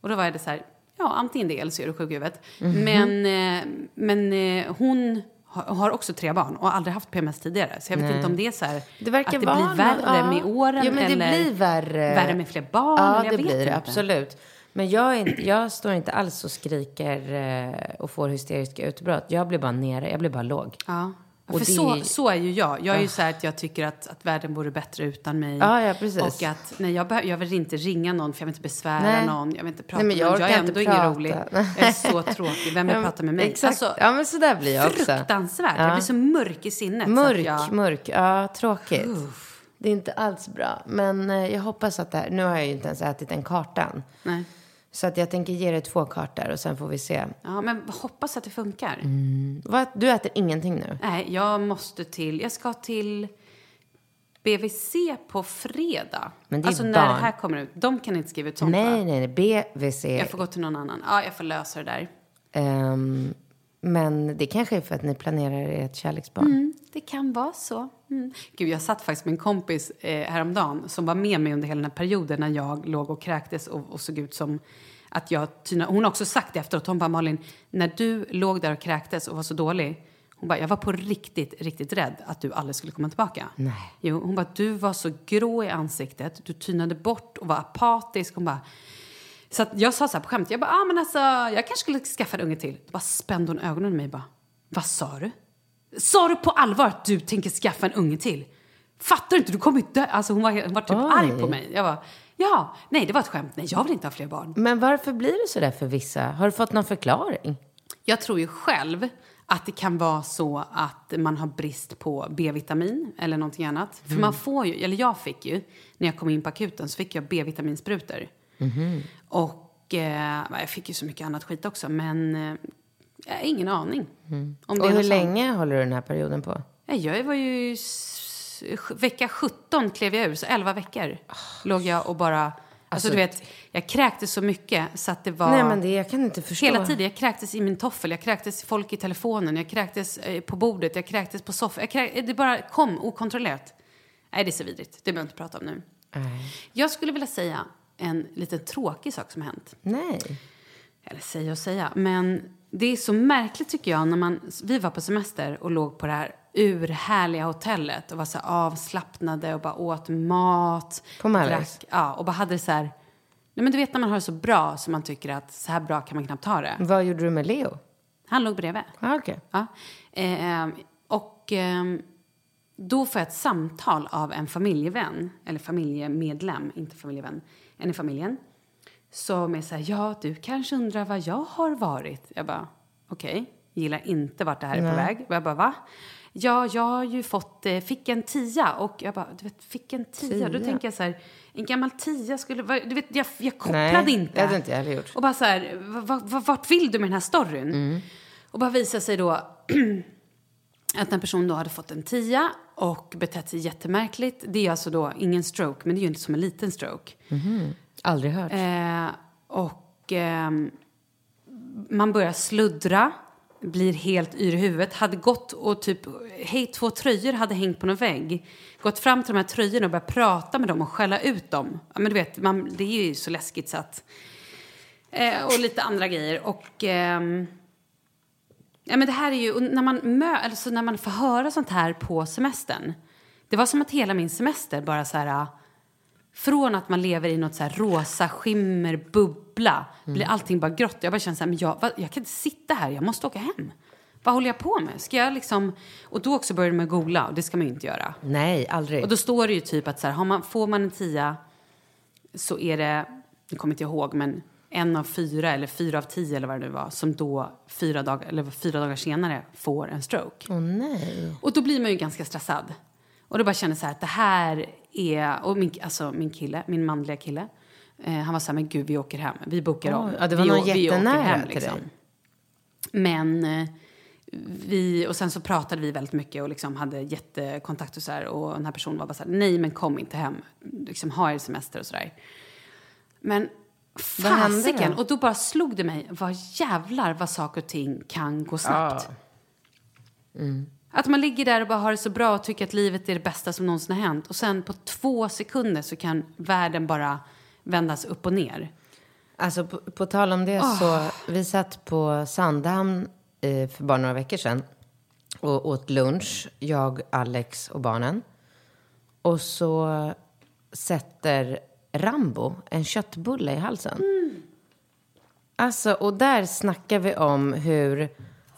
Och då var det så här, ja antingen det eller så är du sjuk i huvudet. Mhm. Men, eh, men eh, hon har- har också tre barn och har aldrig haft PMS tidigare. Så jag vet inte om det är så här, Det verkar att det vara blir någon- värre ja. med åren. Jo, men det eller blir värre. värre med fler barn. Ja, eller jag det vet blir inte. det. Absolut. Men jag, är, inte- jag står inte alls och skriker eh, och får hysteriska utbrott. Jag blir bara nere. Jag blir bara låg. Ja. Och För det- så, så är ju jag. Jag är ju så här att jag tycker att, att världen vore bättre utan mig. Ja, ja, precis. Och att nej, jag, behö- jag vill inte ringa någon för jag vill inte besvära Nej. någon. Jag vill inte prata Nej, men med jag någon. Jag är orkar ändå inte ingen prata. rolig. Jag är så tråkig. Vem vill prata med mig? Exakt. Alltså, ja, men så där blir jag också. fruktansvärt. Ja. Jag blir så mörk i sinnet. så att Mörk, jag, mörk. Ja, tråkigt. Det är inte alls bra. Men eh, jag hoppas att det här... Nu har jag ju inte ens ätit den kartan. nej. Så att jag tänker ge dig två kartor och sen får vi se. Ja, men hoppas att det funkar. Mm. Vad- Du äter ingenting nu? Nej, jag måste till... Jag ska till BVC på fredag. Men det är alltså när barn. det här kommer ut. De kan inte skriva ut sånt Nej, va? nej, nej. BVC. Jag får gå till någon annan. Ja, jag får lösa det där. Ehm, men det kanske är för att ni planerar ert kärleksbarn. Mm, Det kan vara så. Mm. Gud, jag satt faktiskt med en kompis eh, häromdagen som var med mig under hela den här perioden när jag låg och kräktes och, och såg ut som att jag tyna. Hon har också sagt det efteråt. Hon bara, Malin, när du låg där och kräktes och var så dålig. Hon bara, jag var på riktigt, riktigt rädd att du aldrig skulle komma tillbaka. Nej. Jo, hon bara, du var så grå i ansiktet. Du tynade bort och var apatisk. Hon bara, så att jag sa så här på skämt, jag bara, ah, men alltså, jag kanske skulle skaffa en unge till. Då bara spände hon ögonen i mig och bara, vad sa du? Sa du på allvar att du tänker skaffa en unge till? Fattar du inte? Du kommer ju dö. Alltså hon var, hon var typ arg på mig. Jag bara, ja, nej det var ett skämt. Nej, jag vill inte ha fler barn. Men varför blir det så där för vissa? Har du fått någon förklaring? Jag tror ju själv att det kan vara så att man har brist på B-vitamin eller någonting annat. För Mm. man får ju, eller jag fick ju, när jag kom in på akuten så fick jag B-vitaminsprutor. Mm-hmm. Och eh, jag fick ju så mycket annat skit också men eh, jag har ingen aning. Om det Mm. Och är hur något sånt. länge håller du den här perioden på? Nej, Jag var ju... s- Vecka 17 klev jag ur, så 11 veckor Ah, låg jag och bara... Alltså, du vet, jag kräktes så mycket så att det var... Nej, men det, jag kan inte förstå. Hela tiden, jag kräktes i min toffel, jag kräktes i folk i telefonen, jag kräktes eh, på bordet, jag kräktes på soffan. Jag kräk... Det bara kom okontrollerat. Nej, det är så vidrigt. Det behöver jag inte prata om nu. Jag skulle vilja säga en liten tråkig sak som har hänt. Nej. Eller säga och säga. Men det är så märkligt tycker jag när man, vi var på semester och låg på det här urhärliga hotellet och var så här avslappnade och bara åt mat. På Mallis? drack- Ja, och bara hade det så här. Nej men du vet när man har det så bra som man tycker att så här bra kan man knappt ha det. Vad gjorde du med Leo? Han låg bredvid. Ah, Okej. Ja. Eh, och ehm, då får jag ett samtal av en familjevän, eller familjemedlem, inte familjevän, en i familjen. Som är så här, ja du kanske undrar vad jag har varit? Jag bara, okej, gillar inte vart det här är på väg. Och jag bara, va? Ja, jag har ju fått, eh, fick en tia och jag bara, du vet, fick en tia. Då tänker jag så här, en gammal tia skulle, vad- du vet, jag, jag kopplade Nej, inte. det hade inte jag heller gjort. Och bara så här, "Va- va- vart vill du med den här storyn? Och bara visar sig då att en person då hade fått en tia och betett sig jättemärkligt. Det är alltså då ingen stroke, men det är ju inte som en liten stroke. Aldrig hört. Eh, och ehm, man börjar sluddra, blir helt yr i huvudet. Hade gått och typ, hej två tröjor hade hängt på någon vägg. Gått fram till de här tröjorna och börjat prata med dem och skälla ut dem. Ja, men du vet, man, det är ju så läskigt så att... Eh, och lite andra grejer. Och... ehm, Ja, men det här är ju, och när, man mö, alltså när man får höra sånt här på semestern. Det var som att hela min semester bara så här... Från att man lever i något så här rosa skimmer, bubbla, blir allting bara grått. Jag bara känner så här, men jag, vad- jag kan inte sitta här, jag måste åka hem. Vad håller jag på med? Ska jag liksom... Och då också började man googla, och det ska man ju inte göra. Nej, aldrig. Och då står det ju typ att så här, har man, får man en tia så är det, nu kommer inte jag ihåg, men en av fyra eller fyra av tio eller vad det nu var som då fyra dagar, eller fyra dagar senare får en stroke. Åh nej. Och då blir man ju ganska stressad. Och då bara känner jag så här att det här är... Och min, alltså min kille, min manliga kille, eh, han var så här, men gud vi åker hem, vi bokar om. Oj, ja, det var vi, någon å- vi åker jättenära hem, liksom. till dig. Men eh, vi, och sen så pratade vi väldigt mycket och liksom hade jättekontakt och så här. Och den här personen var bara så här, nej men kom inte hem, liksom ha er semester och så där. Men Vad hände då? fasiken, och då bara slog det mig, vad jävlar vad saker och ting kan gå snabbt. Mm. Att man ligger där och bara har det så bra och tycker att livet är det bästa som någonsin har hänt. Och sen på två sekunder så kan världen bara vändas upp och ner. Alltså, på, på tal om det Ah. så, vi satt på Sandhamn eh, för bara några veckor sedan och åt lunch, jag, Alex och barnen. Och så sätter Rambo en köttbulle i halsen. Mm. Alltså, och där snackar vi om hur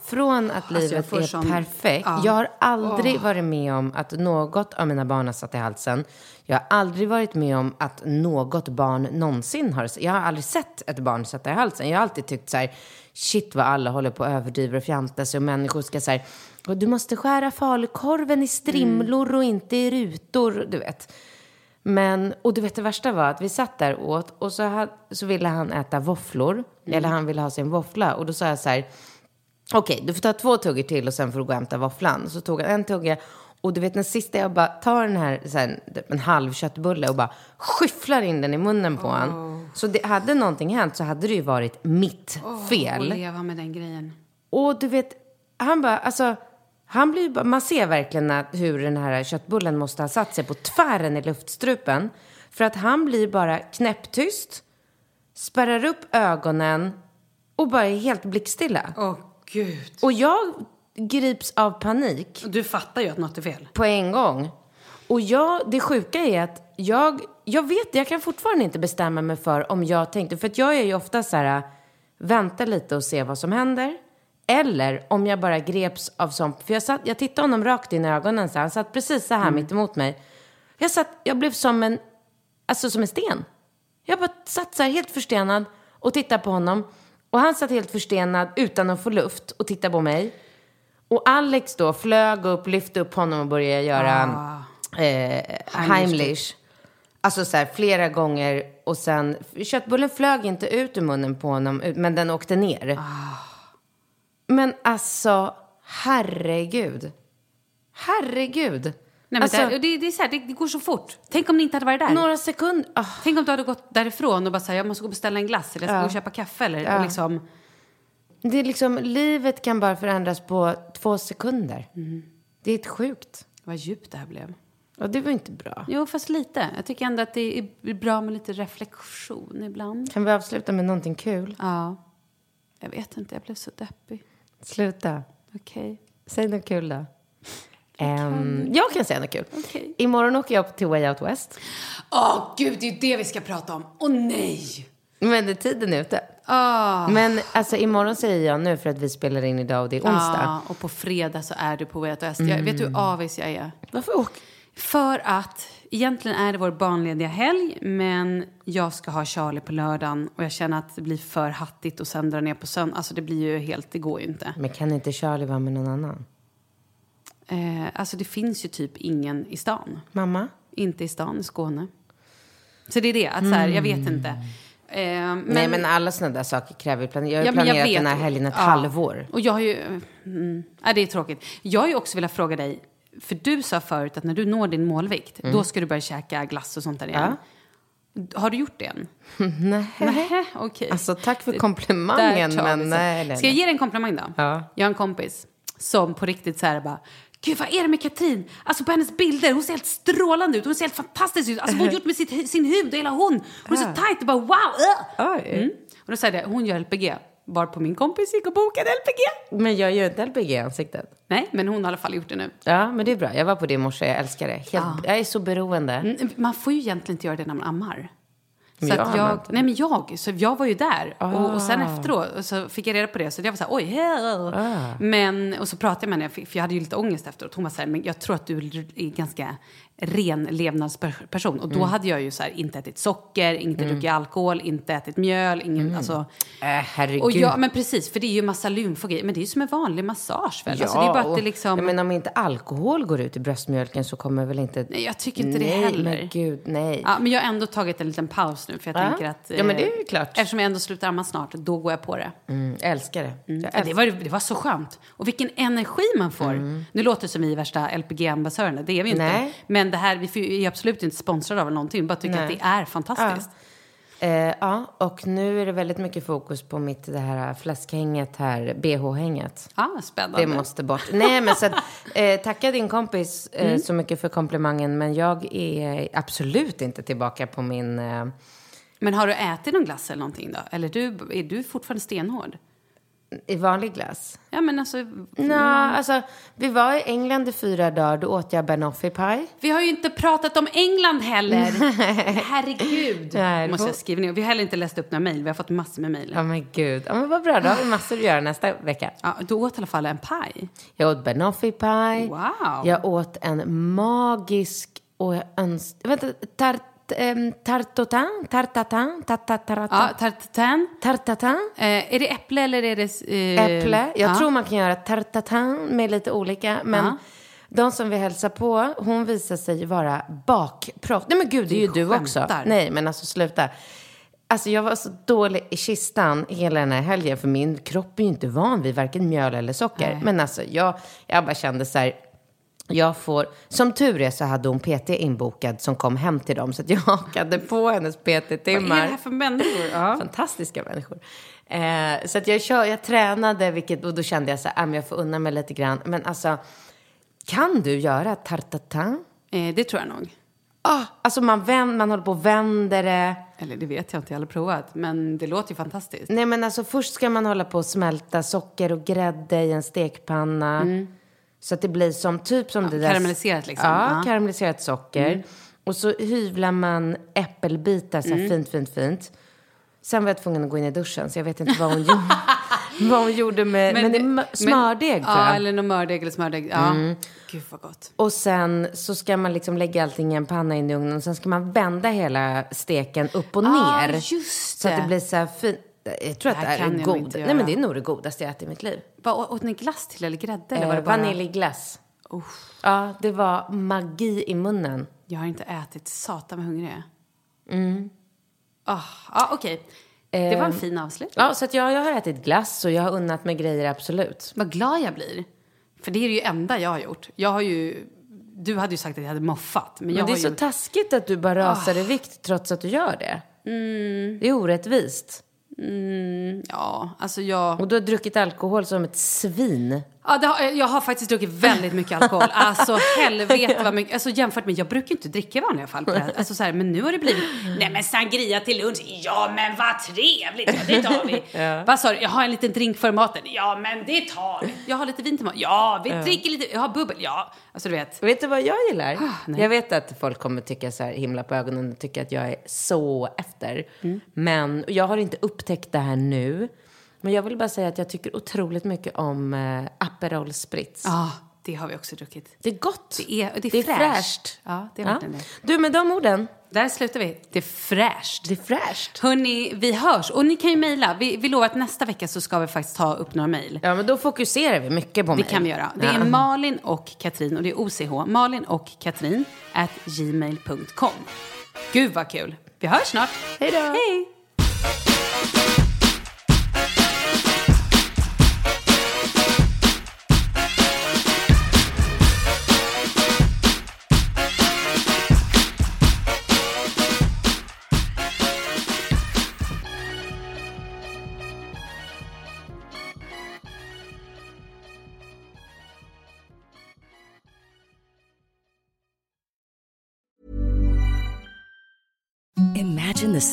från att Alltså, jag livet får är sån- perfekt. Ja. Jag har aldrig varit med om att något av mina barn har satt i halsen. Jag har aldrig varit med om att något barn någonsin har... Jag har aldrig sett ett barn sätta i halsen. Jag har alltid tyckt så här, shit vad alla håller på och överdriver och fjantar sig och människor ska så här, och du måste skära falukorven i strimlor och inte i rutor, du vet. Men, och du vet det värsta var att vi satt där och åt och så, ha, så ville han äta våfflor, eller han ville ha sin våffla. Och då sa jag så här, okej du får ta två tuggor till och sen får du gå och hämta våfflan. Så tog han en tugga Och du vet den sista jag bara tar den här, så här en halv köttbulle och bara skyfflar in den i munnen på honom. Så det, hade någonting hänt så hade det ju varit mitt Och fel. leva med den grejen. Och du vet, han bara, alltså, han blir ju bara, man ser verkligen att, hur den här köttbullen måste ha satt sig på tvären i luftstrupen. För att han blir bara knäpptyst, spärrar upp ögonen och bara är helt blickstilla. Åh, gud. Och jag grips av panik Du fattar ju att något är fel. på en gång. Och jag, det sjuka är att jag, jag vet, jag kan fortfarande inte bestämma mig för om jag tänkte, för att jag är ju ofta så här, vänta lite och se vad som händer. Eller om jag bara greps av sånt, för jag, satt, jag tittade honom rakt in i ögonen, så här, han satt precis så här mitt emot mig. Jag, satt, jag blev som en, alltså som en sten. Jag bara satt så här helt förstenad och tittade på honom. Och han satt helt förstenad utan att få luft och tittade på mig. Och Alex då flög upp, lyfte upp honom och började göra Ah. eh, Heimlich. Alltså så här flera gånger och sen, köttbullen flög inte ut ur munnen på honom ut- men den åkte ner. Ah. Men alltså, herregud. Herregud. Nej, men alltså, det, det, det, är så här, det, det går så fort. Tänk om ni inte hade varit där. några sekunder. ah. Tänk om du hade gått därifrån och bara så här, jag måste gå och beställa en glass eller jag ska gå och köpa kaffe eller och liksom. Det är liksom, livet kan bara förändras på två sekunder. Det är ett sjukt. Vad djupt det här blev. Och det var inte bra. Jo, fast lite. Jag tycker ändå att det är bra med lite reflektion ibland. Kan vi avsluta med någonting kul? Ja. Jag vet inte, jag blev så deppig. Sluta. Okej. Säg något kul då. Ehm, jag kan säga något kul. Okej. Imorgon åker jag upp till Way Out West. Åh, gud, det är ju det vi ska prata om. Åh, nej! Men det- tiden är ute. Ah. Men alltså imorgon säger jag nu för att vi spelar in idag och det är onsdag. Ja, Ah, och på fredag så är du på Way Out West. Jag, vet du hur avis jag är? Varför åker För att egentligen är det vår barnlediga helg men jag ska ha Charlie på lördagen och jag känner att det blir för hattigt och sen dra ner på söndag. Alltså det blir ju helt, det går ju inte. Men kan inte Charlie vara med någon annan? Eh, alltså det finns ju typ ingen i stan. Mamma? Inte i stan, i Skåne. Så det är det, att så här, jag vet inte. Eh, men, Nej men alla sådana där saker kräver ju planering. Jag Ah. har ju Ja, men jag planerat den här vet. helgen ett Ja. halvår. Och jag har ju... Mm, nej, det är tråkigt. Jag har ju också velat fråga dig, för du sa förut att när du når din målvikt, Mm. då ska du börja käka glass och sånt där igen. Har du gjort det än? Nej. Nej, okej. Alltså tack för Där komplimangen tar vi men sen. nej, nej, Ska jag nej. ge dig en komplimang då? Ja. Jag har en kompis som på riktigt så här bara Gud, vad är det med Katrin? Alltså på hennes bilder, hon ser helt strålande ut, hon ser helt fantastisk ut. Alltså vad hon gjort med sitt, hu- sin hud och hela hon. Hon är så tajt, det bara wow! Uh. Oj. Mm. Och då säger det, hon gör LPG. Var på min kompis gick och bokade LPG. Men jag gör inte LPG i ansiktet. Nej, men hon har i alla fall gjort det nu. Ja, men det är bra. Jag var på det i morse. Jag älskar det. Helt, Jag är så beroende. Mm, Man får ju egentligen inte göra det när man ammar. Så Men jag att ammar jag, inte. Ah. nej men jag, så jag var ju där och, och sen efteråt så fick jag reda på det så jag var så här, oj, hell. Men, och så pratade jag med henne, för för jag hade ju lite ångest efteråt. Hon var så här, men jag tror att du är ganska ren levnadsperson. Och då Mm. hade jag ju så här, inte ätit socker, inte druckit alkohol, inte ätit mjöl, ingen, alltså. Äh, herregud. Och jag, men precis, för det är ju massa lymfogrejer. Men det är ju som en vanlig massage väl? alltså, det är bara att och- det liksom... ja, men om inte alkohol går ut i bröstmjölken så kommer väl inte... Nej, jag tycker inte det Nej, heller. men gud, nej. Ja, men jag har ändå tagit en liten paus nu för jag Ja. tänker att... eh, Ja, men det är ju klart. Eftersom jag ändå slutar amma snart, då går jag på det. Mm, jag älskar det. Jag Ja, älskar det, var, det var så skönt. Och vilken energi man får. Nu låter det som vi är värsta LPG-ambassadörerna, det är vi ju inte. Mm. Nej. Men det här, vi får ju- är absolut inte sponsrade av någonting, vi bara tycker att det är fantastiskt. Eh, ja, och nu är det väldigt mycket fokus på mitt det här fläskhänget här, bh-hänget. Ja, Ah, spännande. Det måste bort. Nej, men så att, eh, tacka din kompis eh, Mm. så mycket för komplimangen, men jag är absolut inte tillbaka på min... Eh, Men har du ätit någon glass eller någonting då? Eller du, är du fortfarande stenhård? i vanlig glass. Ja, men alltså... Nej, alltså vi var i England i fyra dagar, då åt jag banoffee-paj. Vi har ju inte pratat om England heller. Herregud. Nej, det måste får- jag skriva ner. Vi har heller inte läst upp några mejl. Vi har fått massor med mejl. Ja men gud, ja, men vad bra, då har vi massor att göra nästa vecka. Ja, du åt i alla fall en paj. Jag åt banoffee-paj. Wow. Jag åt en magisk och jag öns- Vänta, tart... Um, tartotin? Tartatin? Ja, Tartataratan? tartatin. Tartatin? Eh, är det äpple eller är det... Eh, Äpple. Jag ja. tror man kan göra tartatin med lite olika. Men Ja. de som vi hälsar på, hon visar sig vara bakproffs. Nej men gud, det är ju du också. skämtar. Nej men alltså sluta. Alltså jag var så dålig i kistan hela den här helgen för min kropp är ju inte van vid varken mjöl eller socker. Men alltså jag, jag bara kände så här, Jag får, som tur är så hade hon PT inbokad som kom hem till dem så att jag hakade på hennes PT-timmar. Vad är det här för människor? Ja. Fantastiska människor. Eh, så att jag, kör, jag tränade vilket, och då kände jag så här, ah, men jag får unna mig lite grann. Men alltså, kan du göra tartatin? Eh, det tror jag nog. Ah, alltså man, vänd, man håller på och vänder det. Eller det vet jag inte, jag har aldrig provat. Men det låter ju fantastiskt. Nej men alltså först ska man hålla på och smälta socker och grädde i en stekpanna. Så att det blir som typ som det där. karamelliserat liksom. Ja, Mm. Ja. karamelliserat socker. Och så hyvlar man äppelbitar så här fint, fint, fint. Sen var jag tvungen att gå in i duschen så jag vet inte vad hon gjorde. vad hon gjorde med, men, det, är mö- smördeg tror jag. Mm. Ja, eller någon mördeg eller smördeg. Ja. Gud vad gott. Och sen så ska man liksom lägga allting i en panna in i ugnen och sen ska man vända hela steken upp och Ah, ner. just Så att det det. blir så här fint. Jag tror att Det det här här kan är jag god. inte Nej göra. men det är nog det godaste jag ätit i mitt liv. Vad åt ni glass till eller grädde? eller var Eh, det bara... Vaniljglass. Ja, det var magi i munnen. Jag har inte ätit. Satan vad hungrig jag är. Mm. Ah, ja, okej. Det var en fin avslutning. Ehm. Ja, så att jag, jag har ätit glass och jag har unnat mig grejer, absolut. Vad glad jag blir. För det är det ju enda jag har gjort. Jag har ju... Du hade ju sagt att jag hade moffat. Men, jag Men det är har Ah. så ju... taskigt att du bara rasar i vikt trots att du gör det. Mm. Det är orättvist. Ja, alltså jag... Och du har druckit alkohol som ett svin. Ja, det har, eh, jag har faktiskt druckit väldigt mycket alkohol. Alltså helvete vad mycket. Alltså jämfört med, jag brukar ju inte dricka i vanliga fall på det här. Alltså så här, men nu har det blivit, nej men sangria till lunch, ja men vad trevligt, ja, det tar vi. Vad sa du, jag har en liten drink före maten, ja men det tar vi. Jag har lite vin till maten, ja vi dricker lite, jag har bubbel, ja. Alltså du vet. Vet du vad jag gillar? Ah, nej. jag vet att folk kommer tycka så här himla på ögonen och tycka att jag är så efter. Mm. Men och jag har inte upptäckt det här nu. Men jag vill bara säga att jag tycker otroligt mycket om eh, Aperol Spritz. Ja, det har vi också druckit. Det är gott. Det är, det är, fräscht. Ja, det är verkligen det. Du, med de orden. Där slutar vi. Det är fräscht. Det är fräscht. Hörni, vi hörs. Och ni kan ju mejla. Vi, vi lovar att nästa vecka så ska vi faktiskt ta upp några mejl. Ja, men då fokuserar vi mycket på Det mig. kan vi göra. Det är Malin och Katrin och det är OCH. Malin och Katrin at gmail.com. Gud vad kul. Vi hörs snart. Hej då. Hej. Imagine the